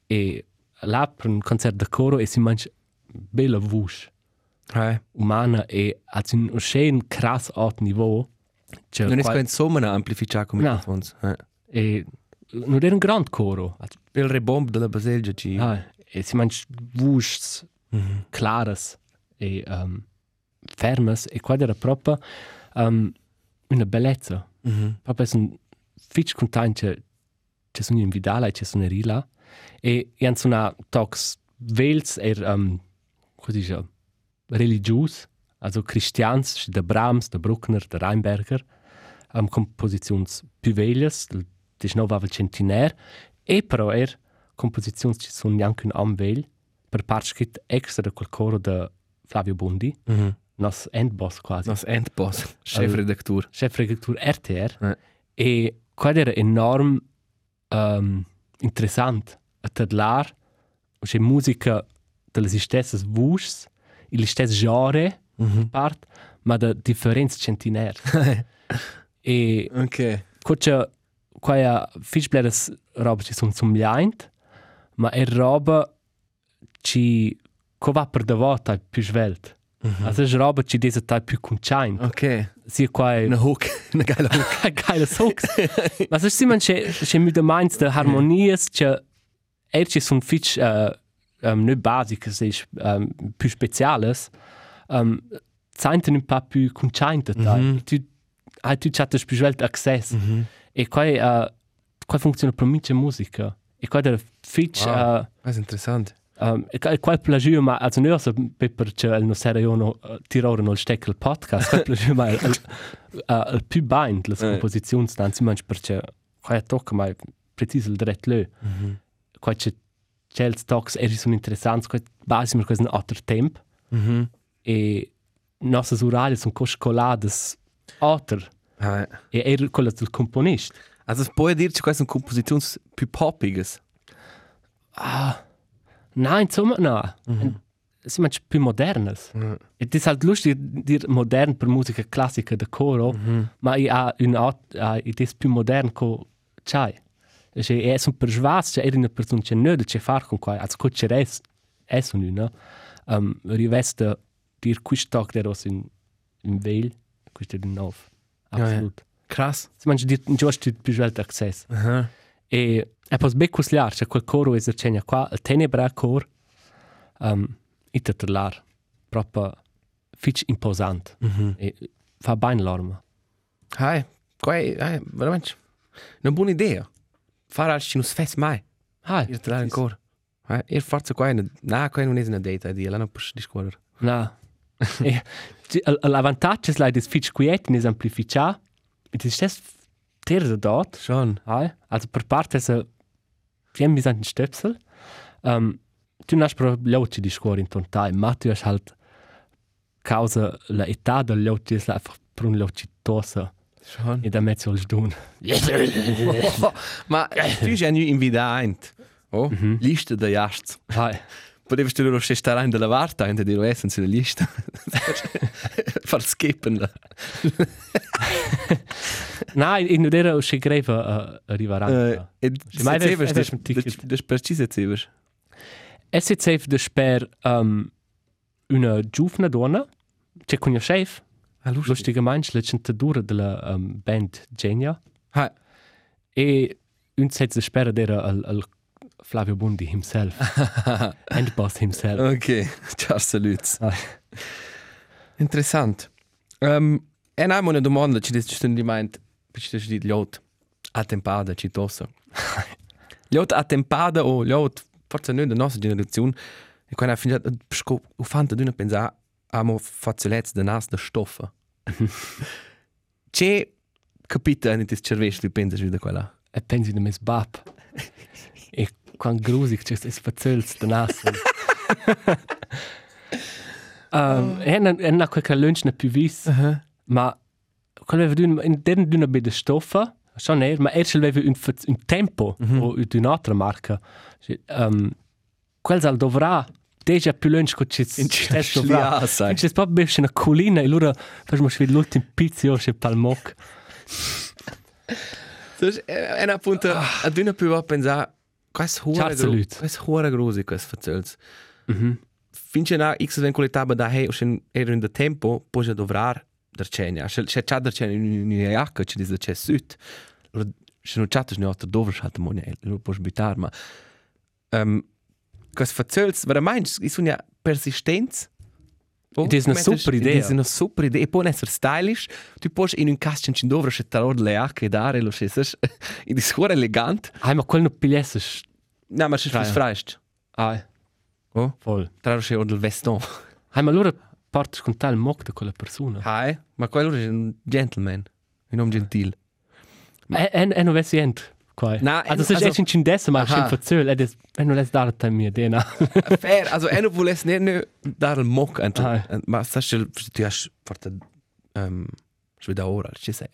Speaker 3: E là per un concert de coro e si manch bella vush
Speaker 2: Hai.
Speaker 3: umana e hat un schön krass art niveau. Che
Speaker 2: Non
Speaker 3: quai-
Speaker 2: riesco insomma a amplificare come
Speaker 3: No.
Speaker 2: no. Fons.
Speaker 3: e non era un grande coro.
Speaker 2: Mm. Il rebomb della baselgia ci...
Speaker 3: Ah, e si mangia wuschs,
Speaker 2: Mhm.
Speaker 3: claras e um, fermas e quella era proprio um, una bellezza.
Speaker 2: Mhm.
Speaker 3: Proprio sono fitch contenti che ci sono in Vidala e ci sono lì là e hanno sono tox vels e um, così dice religious, also cristians, da Brahms, da Bruckner, da Reinberger, um, composizioni più veglie, del XIX centinaire e però er composizioni che sono neanche un amveglie per parskit extra da quel coro da Flavio Bondi,
Speaker 2: Mhm.
Speaker 3: nos endboss quasi,
Speaker 2: Nos endboss, chefredaktur.
Speaker 3: chefredakteur RTR.
Speaker 2: Eh.
Speaker 3: E quad era enorm um, interessant a tadlar, c'è musica delle stesse voci, le stesse genre,
Speaker 2: Mhm.
Speaker 3: part, ma da differenze centinaire. e
Speaker 2: Ok.
Speaker 3: Kutsche, quaja fischblädes roba ci sun zum jaint, ma er roba ci ko va per davo tai più svelt.
Speaker 2: Mhm.
Speaker 3: Also es roba ci desa tai più conchaint.
Speaker 2: Ok.
Speaker 3: Si quai
Speaker 2: Eine Hook, eine geile Hook.
Speaker 3: geile Socks. Ma so simon che che mit der meins der harmonies che er ci sun fitch äh ähm ne basic es is ähm più speziales. Ähm zainten un pa più conchaint tai.
Speaker 2: Mhm.
Speaker 3: Tu hai tu chattes più svelt access.
Speaker 2: Mhm.
Speaker 3: E qua, uh, qua funziona per mince musica. E qua del fitch... äh,
Speaker 2: Wow.
Speaker 3: Wow.
Speaker 2: Das ist interessant.
Speaker 3: Uh, um, e qua, e qua è plagio, ma also noi so per che il nostro seriono uh, tirare non stecca il podcast, qua è plagio, ma il, il, uh, il più bind, le composizioni, anzi mangi perché qua è tocca, ma è preciso il dretto lì.
Speaker 2: Mhm.
Speaker 3: Qua c'è c'è il talks, e sono interessanti, qua basi per questo è un altro tempo.
Speaker 2: Mhm.
Speaker 3: E le nostre orali sono coscolate, altre.
Speaker 2: Ah, ja.
Speaker 3: E era quella del componista.
Speaker 2: Also, es pode dir, dass es ein Kompositions più popiges.
Speaker 3: Nein, insomma no. Mhm. Sind manchmal più modernes. Mhm. Es ist halt lustig, dir modern per Musica classica da coro, mhm. ma i ha un alt, ha i des più modern co c'hai. Es è un per schwarz, c'è una persona che nöde che far con qua, als co c'è es es un una. Ähm riveste dir quistog der os in in veil, questo di nov.
Speaker 2: ja.
Speaker 3: Absolut.
Speaker 2: Krass.
Speaker 3: Sind manchmal dir giusto più svelta access.
Speaker 2: Aha.
Speaker 3: E è pos becus liar, c'è quel coro esercenia qua, il tenebra cor, um, ita trlar, proprio fitch imposant.
Speaker 2: Mhm.
Speaker 3: E fa bain l'orma.
Speaker 2: Hai, quai, hai, veramente. Una buona idea. Fare altro non si fa mai.
Speaker 3: Ah,
Speaker 2: Ir te ancora. Hai, ir forza qua, na, qua non è una data, di là non puoi discutere.
Speaker 3: Na. e ci- l- l'avantaggio è che des fitch quiet ne amplifica, e ti stes terza dot,
Speaker 2: Schon.
Speaker 3: hai, also per parte se fiem bis an stöpsel. Um, tu nas pro loci di scuola in tontai, ma tu hast halt causa la età del loci es la einfach per un loci tosa.
Speaker 2: Schon.
Speaker 3: E da mezzo al dun.
Speaker 2: Ma tu sei nu in vida eint. Oh, lista da jasts.
Speaker 3: Hai.
Speaker 2: Potevi stare lo stessa rein della varta, in della essence della lista. Far skippen la.
Speaker 3: Na, in udera usci greva uh, arrivarà.
Speaker 2: Eh, E
Speaker 3: Še maj
Speaker 2: se ceviš,
Speaker 3: veš, veš,
Speaker 2: des
Speaker 3: veš, tiket.
Speaker 2: des deci precise ceviš.
Speaker 3: E se cef de sper um, una giufna donna, che con chef,
Speaker 2: A lusti.
Speaker 3: lustige mensch, le centatura della um, band Genia.
Speaker 2: Hai.
Speaker 3: E un set de sper dera al, al Flavio Bundi himself. And boss himself.
Speaker 2: Ok, ciao salut.
Speaker 3: Ah.
Speaker 2: Interessant. Um, en hai una domanda, ci dici tu di mind, ci dici di lot attempada ci tossa. lot attempada o lot forse noi della nostra generazione e quando ha finito scop u fanta di una pensa amo fazzolezze da nas da stoffa. C'è capita in tis cervello di pensa di quella.
Speaker 3: E pensi de mes bab. E quan grusig che es verzölst de nasen.
Speaker 2: Oh.
Speaker 3: Um, en en na quel lunch na più vis.
Speaker 2: Uh-huh.
Speaker 3: Ma quel aveva d'un in den d'una bede stoffa, schon er, ma er aveva un verz- un tempo
Speaker 2: Mhm.
Speaker 3: o di un'altra marca. Um, quel sal dovrà Deja più lunch che ci
Speaker 2: In ci-
Speaker 3: stai
Speaker 2: ci
Speaker 3: sopra.
Speaker 2: liasa.
Speaker 3: Ci sta proprio una collina e loro facciamo l'ultimo pizzo e palmoc.
Speaker 2: Dus en appunto a duna più va pensa quas hora
Speaker 3: Charse Leute.
Speaker 2: quas hora grosi quas verzels. Finché na x den qualità da hey uschen er in de tempo poja dovrar der cenia. Se se cha der cenia in in jacca ci dice c'è süd. Se no chatus ne otto dover hat mo ne lo pos bitar ma. Ehm Kas verzölst, was du meinst, ist ja Persistenz.
Speaker 3: Ed è una super idea.
Speaker 2: È una super idea. E può essere stylish. Tu puoi in un cascio in dovre scettare le acque e dare lo stesso. E di scuola elegante.
Speaker 3: Ah, ma quello non pigliesse.
Speaker 2: No, ma c'è
Speaker 3: Fraja.
Speaker 2: fris freist.
Speaker 3: Ah,
Speaker 2: Oh?
Speaker 3: voll.
Speaker 2: Tra lo scettare il veston.
Speaker 3: Ah, ma allora parti con tal mock da quella persona.
Speaker 2: Hai? Ma quello è un gentleman. Un uomo gentil.
Speaker 3: E, e, e non vesi niente. Qua.
Speaker 2: Na, en-
Speaker 3: also, se
Speaker 2: also-
Speaker 3: c'è in dessa, ma c'è
Speaker 2: Aha.
Speaker 3: in verzöl, ed è non es dare te mia idea.
Speaker 2: Fair. Also, er vuole nicht nur dar mock.
Speaker 3: Hai.
Speaker 2: Ma sagst du, du hast forte ähm schwede ora, ci sei.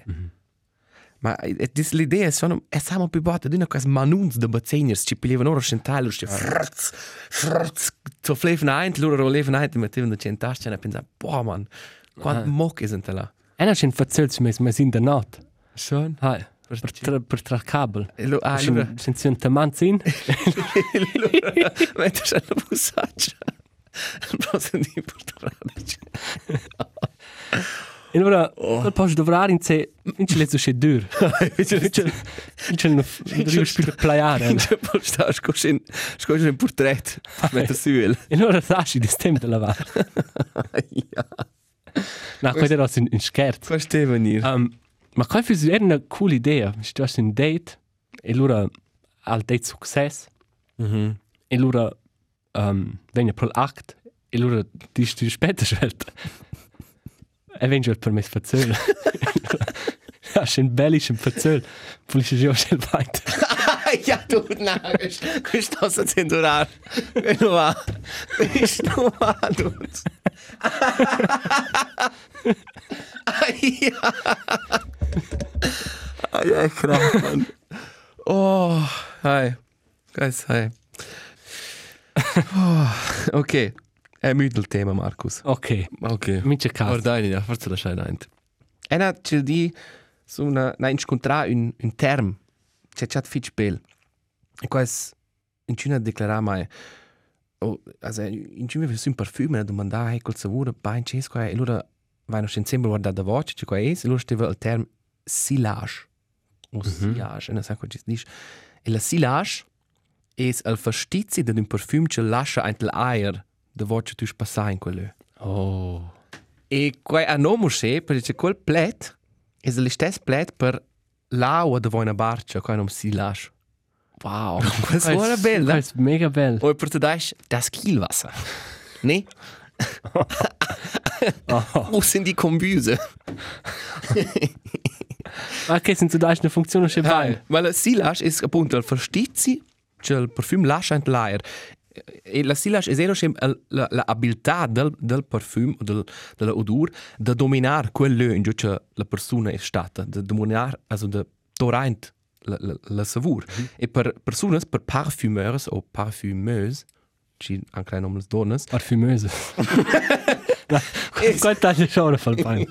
Speaker 2: Ma e dis l'idea sono è samo più botta di una cosa manuns da bazzeniers ci pilevano ora centalo ci frz frz so fleven ein loro leven ein mit dem centascia e pensa boah man quant mock ist denn da
Speaker 3: E non c'è in verzöl, ci messo, ma in der not.
Speaker 2: schon
Speaker 3: Ah, per, tra, per tra cable.
Speaker 2: E lo- ah, allora-
Speaker 3: C'è c'è un tamanzo in.
Speaker 2: Mentre c'è la busaccia. Non senti portare.
Speaker 3: E allora,
Speaker 2: Oh.
Speaker 3: quel posto dovrà in sé, in ce l'è c'è dur. In ce l'è c'è più playare.
Speaker 2: Cioè, poi sta scocendo un portrait. Mentre si vuole.
Speaker 3: E allora lasci di stem da lavare. No, questo era un un scherzo.
Speaker 2: Qua stai venire.
Speaker 3: Um, ma qual è era una cool idea? Se tu hai un date e allora al date successo e allora um, vieni per l'act e allora ti ti rispetta scelta. E vieni per me spazzolo. Hast ein bellischen Verzöl, pulische Gio schnell weiter.
Speaker 2: Ah, Ja, du, na, questo sta sentendo raro. Quello va. Questo va, du. Ah, Aia. Aia, Ah, krass, man. Oh, hi. Guys, hi. Oh, okay. È müde il tema, Markus.
Speaker 3: Okay,
Speaker 2: Okay.
Speaker 3: mince
Speaker 2: Aber
Speaker 3: Karte.
Speaker 2: deine, ja, forse la schein ein. Ena c'è di su una na incontra un un term. C'è chat fit spel. E qua es in Cina declara mai o also in Cina vi un parfum e domanda hai col savore bain c'è qua e loro vanno in sembra guarda da voce c'è qua es e loro stava il term silage. O silage, ena sa qua ci dice. E la silage es al fastizzi de un parfum che lascia eintel aer da voce tu spassa in quello.
Speaker 3: Oh.
Speaker 2: E quai a nomu se, perché quel plet è lo stesso plet per l'aua dove una barca, quai non si lascia.
Speaker 3: Wow.
Speaker 2: Das war eine Belle, ne?
Speaker 3: Das ist mega bell.
Speaker 2: O per te dais das Kielwasser. Ne? Wo sind die Kombüse?
Speaker 3: Okay, sind du da ist eine Funktion schon bei.
Speaker 2: Weil Silas ist appunto il verstizzi, cioè il parfum lascia in l'air. E la Silas è zero sem la, la abilità del, del parfum o del, dell'odor da dominare quello in cui la persona è stata, da dominare, also da torrent la, la, la savur. Mm -hmm. E per persone, per parfumeurs o parfumeuse, ci anche nome le donne,
Speaker 3: Parfümöse. Gott, das ist schon voll bei.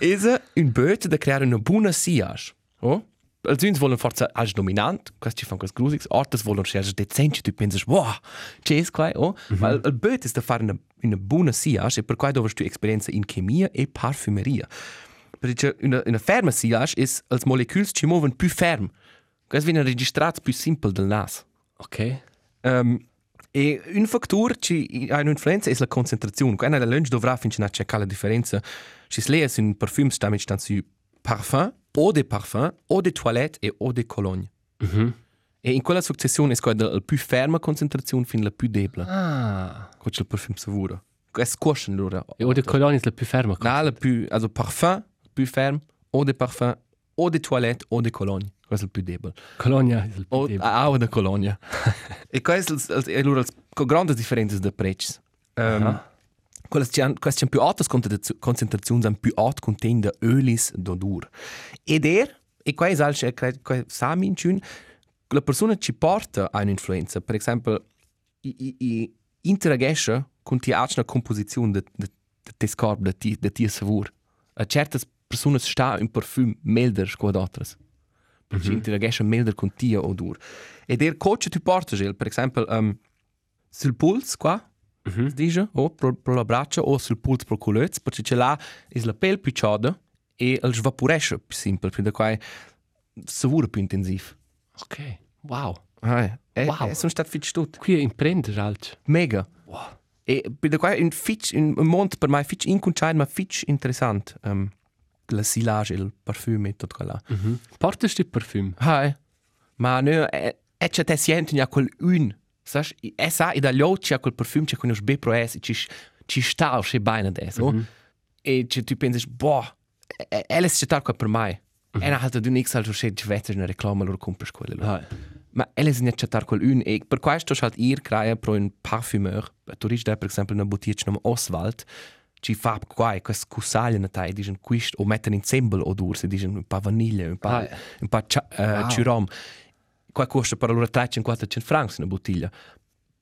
Speaker 2: is er un beetje da creare una buona siage. Oh? Also uns wollen forza als dominant, quasi ci fanno quasi grusigs, ortes wollen scherz decenti, tu pensas, wow, c'è es quai, oh? Weil il beetje ist da fare una, una buona siage e per quai dovresti tu esperienza in chemia e parfumeria. Perché una, una ferma siage is als molecules ci muoven più ferm. Quasi viene registrato più simple del nas.
Speaker 3: Okay.
Speaker 2: Um, e un fattore che ha un'influenza è la concentrazione. Quando la lunch dovrà finire a cercare la differenza, ci si legge un parfum sta mit stanno su parfum, o di parfum, o di toilette e o di cologne. E in quella successione è quella la più ferma concentrazione fino alla più debole.
Speaker 3: Ah.
Speaker 2: Con il parfum sicuro. È scorso allora.
Speaker 3: E o de Cologne ist la più ferma.
Speaker 2: Certo. No, la più, also parfum, più fermo, o di parfum, o di toilette o di cologne. Questo è il più debole.
Speaker 3: Colonia ist la
Speaker 2: O,
Speaker 3: più debole.
Speaker 2: a Auda Colônia. e questo è una delle grandi differenze di prezzi. Um, quelle che hanno più alte concentrazioni hanno più alto contenuto di oli e odore. Ed è, e qua è anche, credo, sami in cun, la persona ci porta a un'influenza. Per esempio, i- i- i- interagisce con ti anche una composizione del tuo corpo, del ti- del tuo savore. A certe persone sta un profumo meglio che altre. Perché interagisce meglio con te odore. Ed è quello che ti porta, Gil, per esempio, um, sul polso, qua, si dice, o pro, pro la braccia, o sul polso pro colez, perché c'è là, è la pelle più cioda e il svaporesce più semplice, quindi qua è il sapore più intensivo.
Speaker 3: Okay. Wow.
Speaker 2: Hai. E,
Speaker 3: Wow.
Speaker 2: wow. e sono stato fitch tutto.
Speaker 3: Qui è imprendere alt.
Speaker 2: Mega. Wow. E per qua in fitch in un mont per mai fitch incontrain ma fitch interessant. Um, la silage il parfum e tutto quella.
Speaker 3: Mhm. Portest du Parfüm?
Speaker 2: Hai. Ma ne e e c'è te senti ja quel un. Sas e sa e da locia quel parfum c'è con us be pro es ci ci sta o se bene adesso. Mm -hmm. E c'è tu pensi boh. Eles c'è tal qua per mai. Mm -hmm. E na halt du nix halt c'è vetter una reclama loro compres quella. Loro.
Speaker 3: Hai.
Speaker 2: Ma elles sind jetzt tar col un e per questo halt ir crea pro un parfumeur. Tu rich da per esempio una boutique nom Oswald ci fa quai quas cusaglia na tai digen quist o metten in sembel odor se digen un pa vaniglia un pa
Speaker 3: Ah.
Speaker 2: un pa cia- eh, cirom. Qua costa per allora 300-400 francs una bottiglia.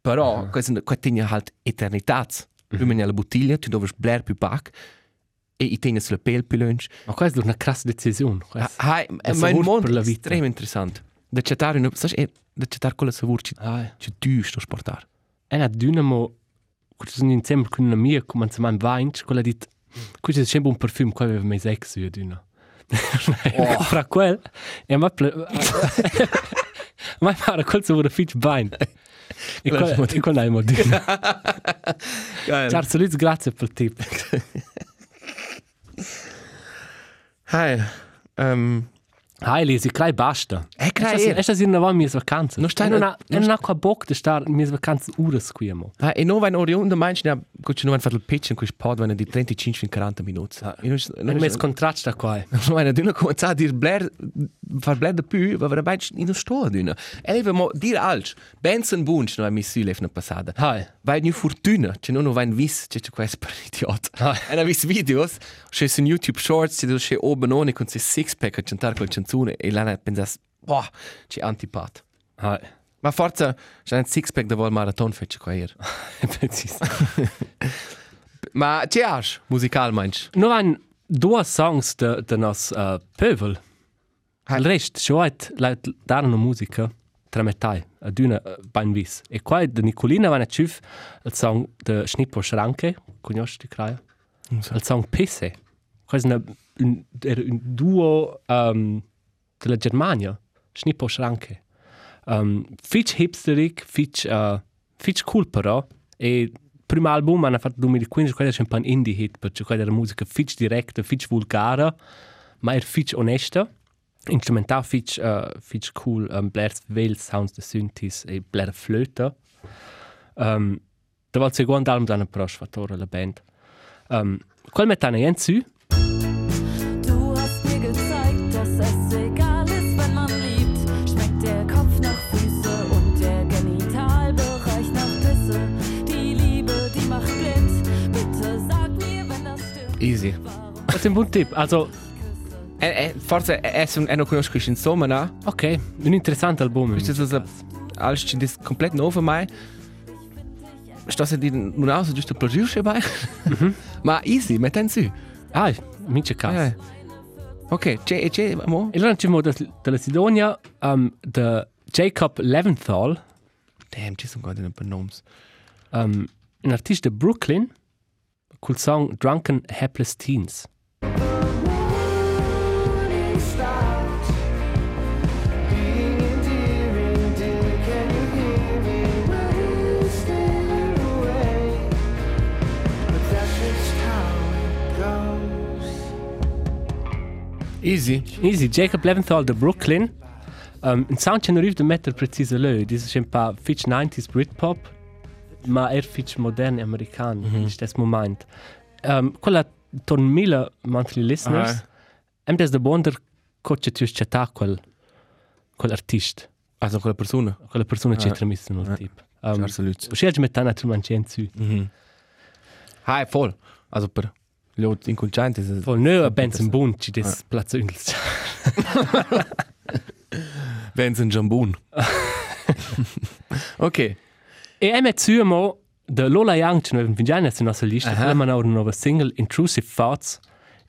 Speaker 2: Però questa qua tiene halt eternitats. Tu meni la bottiglia, tu doves bler più pac e i tenes le pel più lunch.
Speaker 3: Ma questa è una crassa decisione.
Speaker 2: Ah,
Speaker 3: questa.
Speaker 2: Hai,
Speaker 3: È
Speaker 2: ma il
Speaker 3: savur
Speaker 2: mondo
Speaker 3: per la
Speaker 2: è
Speaker 3: vita.
Speaker 2: estremamente interessante. Da chatare, una- sai, è- da chatare con la savur ci
Speaker 3: Hai.
Speaker 2: ci düst a sportar.
Speaker 3: È una dinamo che sono insieme con una mia come si chiama Vines, quella di questo è sempre un parfum che aveva mai sex io d'una. Oh. Fra quel e ma ma fare quel se vuole fit bain. E
Speaker 2: Quello è Esatto.
Speaker 3: quel e quel hai mo di. Ciao Soliz, grazie per il tip.
Speaker 2: Hai. Um,
Speaker 3: Hai Lisi, crai basta.
Speaker 2: Eh, crai er.
Speaker 3: È sta sin una mia vacanza.
Speaker 2: Non stai
Speaker 3: È
Speaker 2: na-
Speaker 3: una è
Speaker 2: non
Speaker 3: una Eh, qua bock di star mia vacanza ora qui mo.
Speaker 2: ah, e non vai in oriunda, meinst du, che ci non vai fatto il pitch in cui spod, vanno di 35-40 minuti. Ah. Non
Speaker 3: Non mi
Speaker 2: mi
Speaker 3: scontraccio da qua. eh.
Speaker 2: Non vai in duna come a dir bler, far bler da più, va vera meinst in un sto duna. E leva mo dir alts, Benson Bunch, non è mi si lefna passada.
Speaker 3: Hai.
Speaker 2: Vai in fortuna, c'è non vai in vis, c'è c'è questo per idiota.
Speaker 3: Ah.
Speaker 2: E non vis videos, c'è su YouTube Shorts, c'è c'è oben ohne con c'è six pack a cantare quel canzone e là pensas, boh, c'è antipat.
Speaker 3: Hai.
Speaker 2: Ma forza, c'è un six-pack da vol maraton fece qua ieri.
Speaker 3: Preciso.
Speaker 2: Ma e c'è as, musical meinst?
Speaker 3: Nu an dua songs de, de nos uh, pövel. Il rest, schon hat laut darno musica tra metai, a duna uh, bein vis. E qua de Nicolina van a chuf il song de Schnippo Schranke, cognosti craia, il song Pisse. Quasi una, un, era un duo um, della Germania, Schnippo Schranke. Um, fitch hipsteric, fitch, uh, fitch cool però. E primo album hanno fatto 2015, quello era un po' indie hit, perché quella era musica fitch diretta, fitch vulgare, ma era fitch onesta. Instrumental fitch, uh, fitch cool, um, Blairs Veil Sounds de Synthes e Blair Flöte. Um, da war il secondo album hanno però sfatore la band. Um, quel metano è in su,
Speaker 8: Du hast mir gezeigt, dass es egal ist, wenn man liebt. Schmeckt der Kopf nach Füße und der Genitalbereich nach Pisse. Die Liebe, die macht blind. Bitte sag mir, wenn das stimmt.
Speaker 2: Easy.
Speaker 8: Warum
Speaker 3: das ist ein buon Tipp. Also,
Speaker 2: E, e, forza, e, e, e non conosco questo insomma, no?
Speaker 3: ok, un interessante album.
Speaker 2: Questo è stato also alles c'è das komplett neu für mich. Sto se di non auso giusto per giusto bei. Mhm. Ma easy, metten su.
Speaker 3: Ah, mince caso.
Speaker 2: Eh. Ok, c'è e c'è mo.
Speaker 3: E allora ci muoviamo da- dalla Sidonia, um, da Jacob Leventhal,
Speaker 2: Damn, ci sono guardando per noms.
Speaker 3: um, un artista di Brooklyn, col song Drunken Hapless Teens.
Speaker 2: Easy.
Speaker 3: Easy, Jacob Leventhal da Brooklyn. Um, un sound che non arriva da mettere preciso lui, dice un po' fitch 90s Britpop, ma è fitch moderno americano in questo momento. Um, quella torna mille monthly listeners, e mi da buono cosa tu stai quel, quel artista,
Speaker 2: Also quella persona.
Speaker 3: quella persona che ti ha messo nel tipo. Um,
Speaker 2: Absolut.
Speaker 3: Scherzi mit deiner Trumancenzi.
Speaker 2: Hai, voll. Also per gli altri inconcianti.
Speaker 3: Voll nö, a Benz im Bund, die das Platz üngels.
Speaker 2: Benson Jambun. ok.
Speaker 3: E emme zuemo, de Lola Young, ci nuovo vingiane su nostra lista, quella man ora nuova single, Intrusive Thoughts,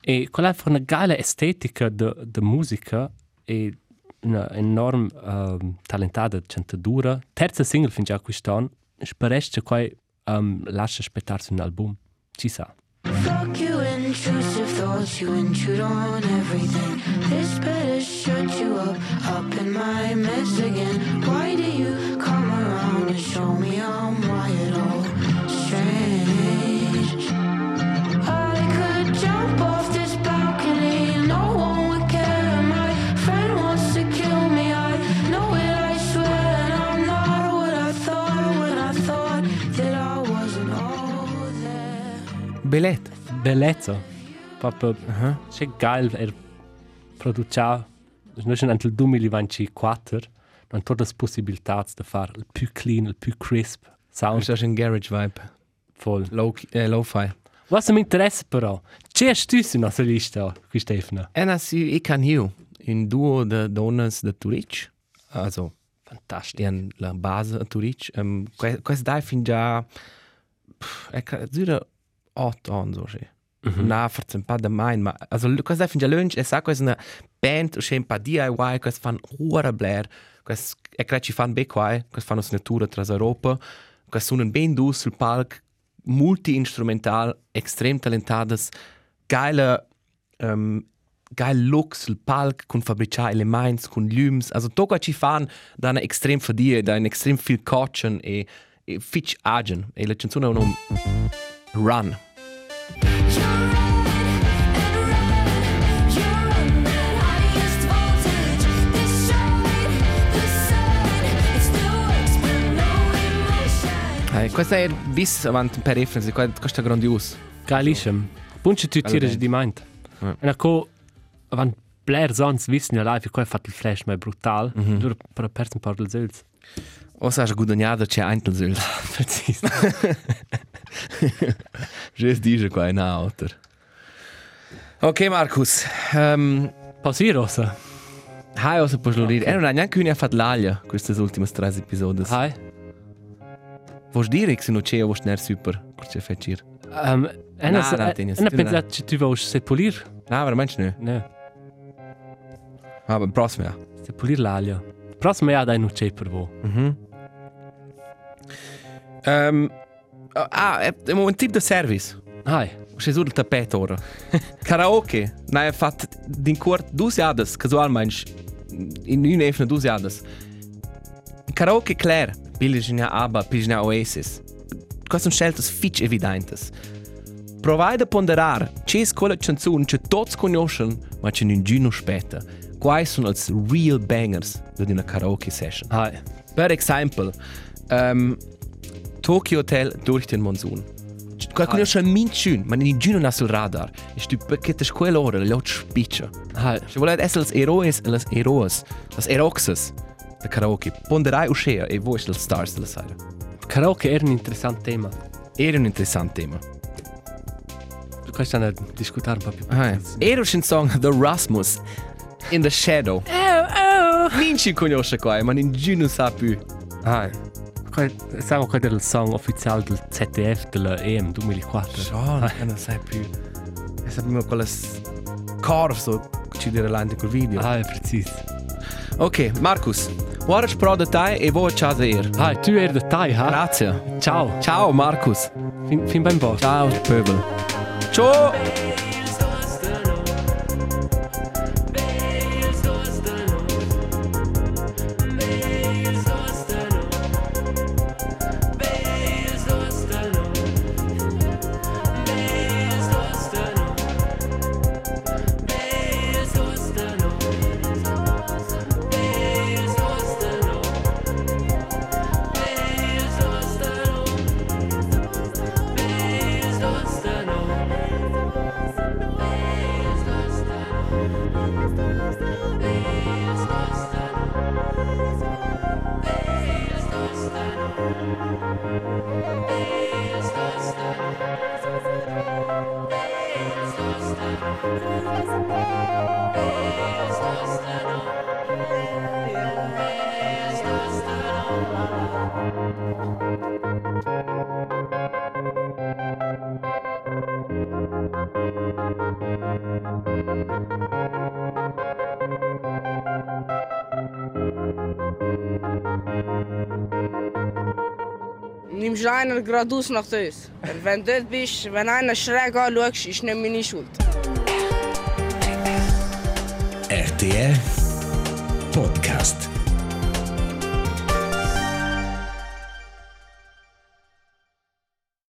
Speaker 3: e quella fa una gala estetica de, de musica e una enorm um, talentata cantatura. Terza single fin già quest'anno, speresti che qua um, lascia aspettare su un album. Ci sa.
Speaker 9: Fuck you intrusive thoughts, you intrude on everything. This better shut you up, up in my mess again. Why do you come around and show me I'm wired all strange? I could jump off this balcony, no one would care. My friend wants to kill me, I know it, I swear. And I'm not what I thought when I thought that I wasn't all there.
Speaker 2: Belet.
Speaker 3: Bellezza. Proprio, c'è geil, er produceva, noi siamo nel 2024, non tutte le possibilità di fare il più clean, il più crisp sound
Speaker 2: Das ist ein Garage-Vibe.
Speaker 3: full.
Speaker 2: Low- eh, Lo-Fi.
Speaker 3: Was mi interessa però, c'è tu su nostra lista, qui Stefano?
Speaker 2: En als je, ik kan hier in duo de donas de Turic, also fantastisch, in la base a Turic, um, quest dai fin già, pff, ecco, zira 8 anni, so sì. Na, forse un po' da mai, ma, also, quest dai fin già lunch, e sa, quest una band, o un po' DIY, quest fan ora blair, quest, e crea ci fan be qua, quest fan una tour tras Europa, quest suonen ben dus sul palc, multi-instrumental, extrem talentadas, geile, um, geil Lux, il Palk, con Fabrica Elements, con Lums. Also, to qua ci fan, da una extrem fadia, da un extrem viel cotchen e, e fitch agen. E la canzone è un nome Run. Eh, questa è vis avanti per reference, qua- questa è grandiosa.
Speaker 3: Geilissimo. Punce tu tiri di mente. E la co, quando Blair Sons vissi nella live, qua ha fatto il flash, ma è brutale, allora per la persa un po' del zelz.
Speaker 2: O sa, guadagnato c'è Einzelsöl.
Speaker 3: Preciso.
Speaker 2: Just dice qua in outer. Ok, Markus. Um,
Speaker 3: Pausi rosa.
Speaker 2: hai osa puoi dire. E non ha neanche una fatto l'aglia, queste ultime tre episodi.
Speaker 3: Hi.
Speaker 2: Vuoi dire che se non c'è, vuoi stare super. Cosa c'è a fare?
Speaker 3: Um, Anna,
Speaker 2: Na, na, Dennis,
Speaker 3: Anna
Speaker 2: tu
Speaker 3: pensa
Speaker 2: na.
Speaker 3: che tu vuoi sepolir?
Speaker 2: No, veramente non.
Speaker 3: No,
Speaker 2: Ah, beim próximo Jahr.
Speaker 3: sepolir l'alio. Prossimo ja dai non c'è per voi.
Speaker 2: Ähm, ah, eh, im Moment Tipp der Service.
Speaker 3: Hi.
Speaker 2: C'è sul tappeto ora. Karaoke. Nein, ha fatto din Kurt dus jades, casual meinst. In un efne dus jades. Karaoke Claire. Pilgenia ABBA, Pilgenia Oasis. Queste sono scelte fitch evidentes. Provai da ponderar, c'è quella canzone che tutti conoscono, ma che nessuno spetta. Quai sono i real bangers di una karaoke session.
Speaker 3: Hi.
Speaker 2: Per esempio, um, Tokyo Hotel durch den Monsun. Qua con io min schön, man in Gino nasul radar. Ich du pakete scuola ora, lot spiccia.
Speaker 3: Hi.
Speaker 2: Ich wollte es als Heroes, als Heroes, als Eroxes. Der Karaoke. Ponderai uscea e voi als Stars della sera.
Speaker 3: Karaoke era un interessante tema.
Speaker 2: Era un interessante tema.
Speaker 3: Questo stanno a discutere un po' più.
Speaker 2: Ah, ja. Era un song The Rasmus in the Shadow. Oh, oh. Minci conosce qua, ma in Gino sa più.
Speaker 3: Hi. Qua- Siamo qua del song ufficiale del E ZDF della EM 2004.
Speaker 2: Sean, ah. non sai più. E sappiamo quale s- corso ci dirà l'ante col video.
Speaker 3: Hi, preciso.
Speaker 2: Ok, Marcus, ora spro da te e voi ciao da ir.
Speaker 3: Hi, tu eri da Tai,
Speaker 2: Ah.
Speaker 3: ha?
Speaker 2: Grazie.
Speaker 3: Ciao.
Speaker 2: Ciao Marcus.
Speaker 3: Fin, fin ben bo.
Speaker 2: Ciao Pöbel. Ciao.
Speaker 9: oh.
Speaker 10: Nim kommst einer geradeaus nach uns. Und wenn du dort bist, wenn einer schräg anschaust, ist nicht meine Schuld.
Speaker 1: RTR Podcast.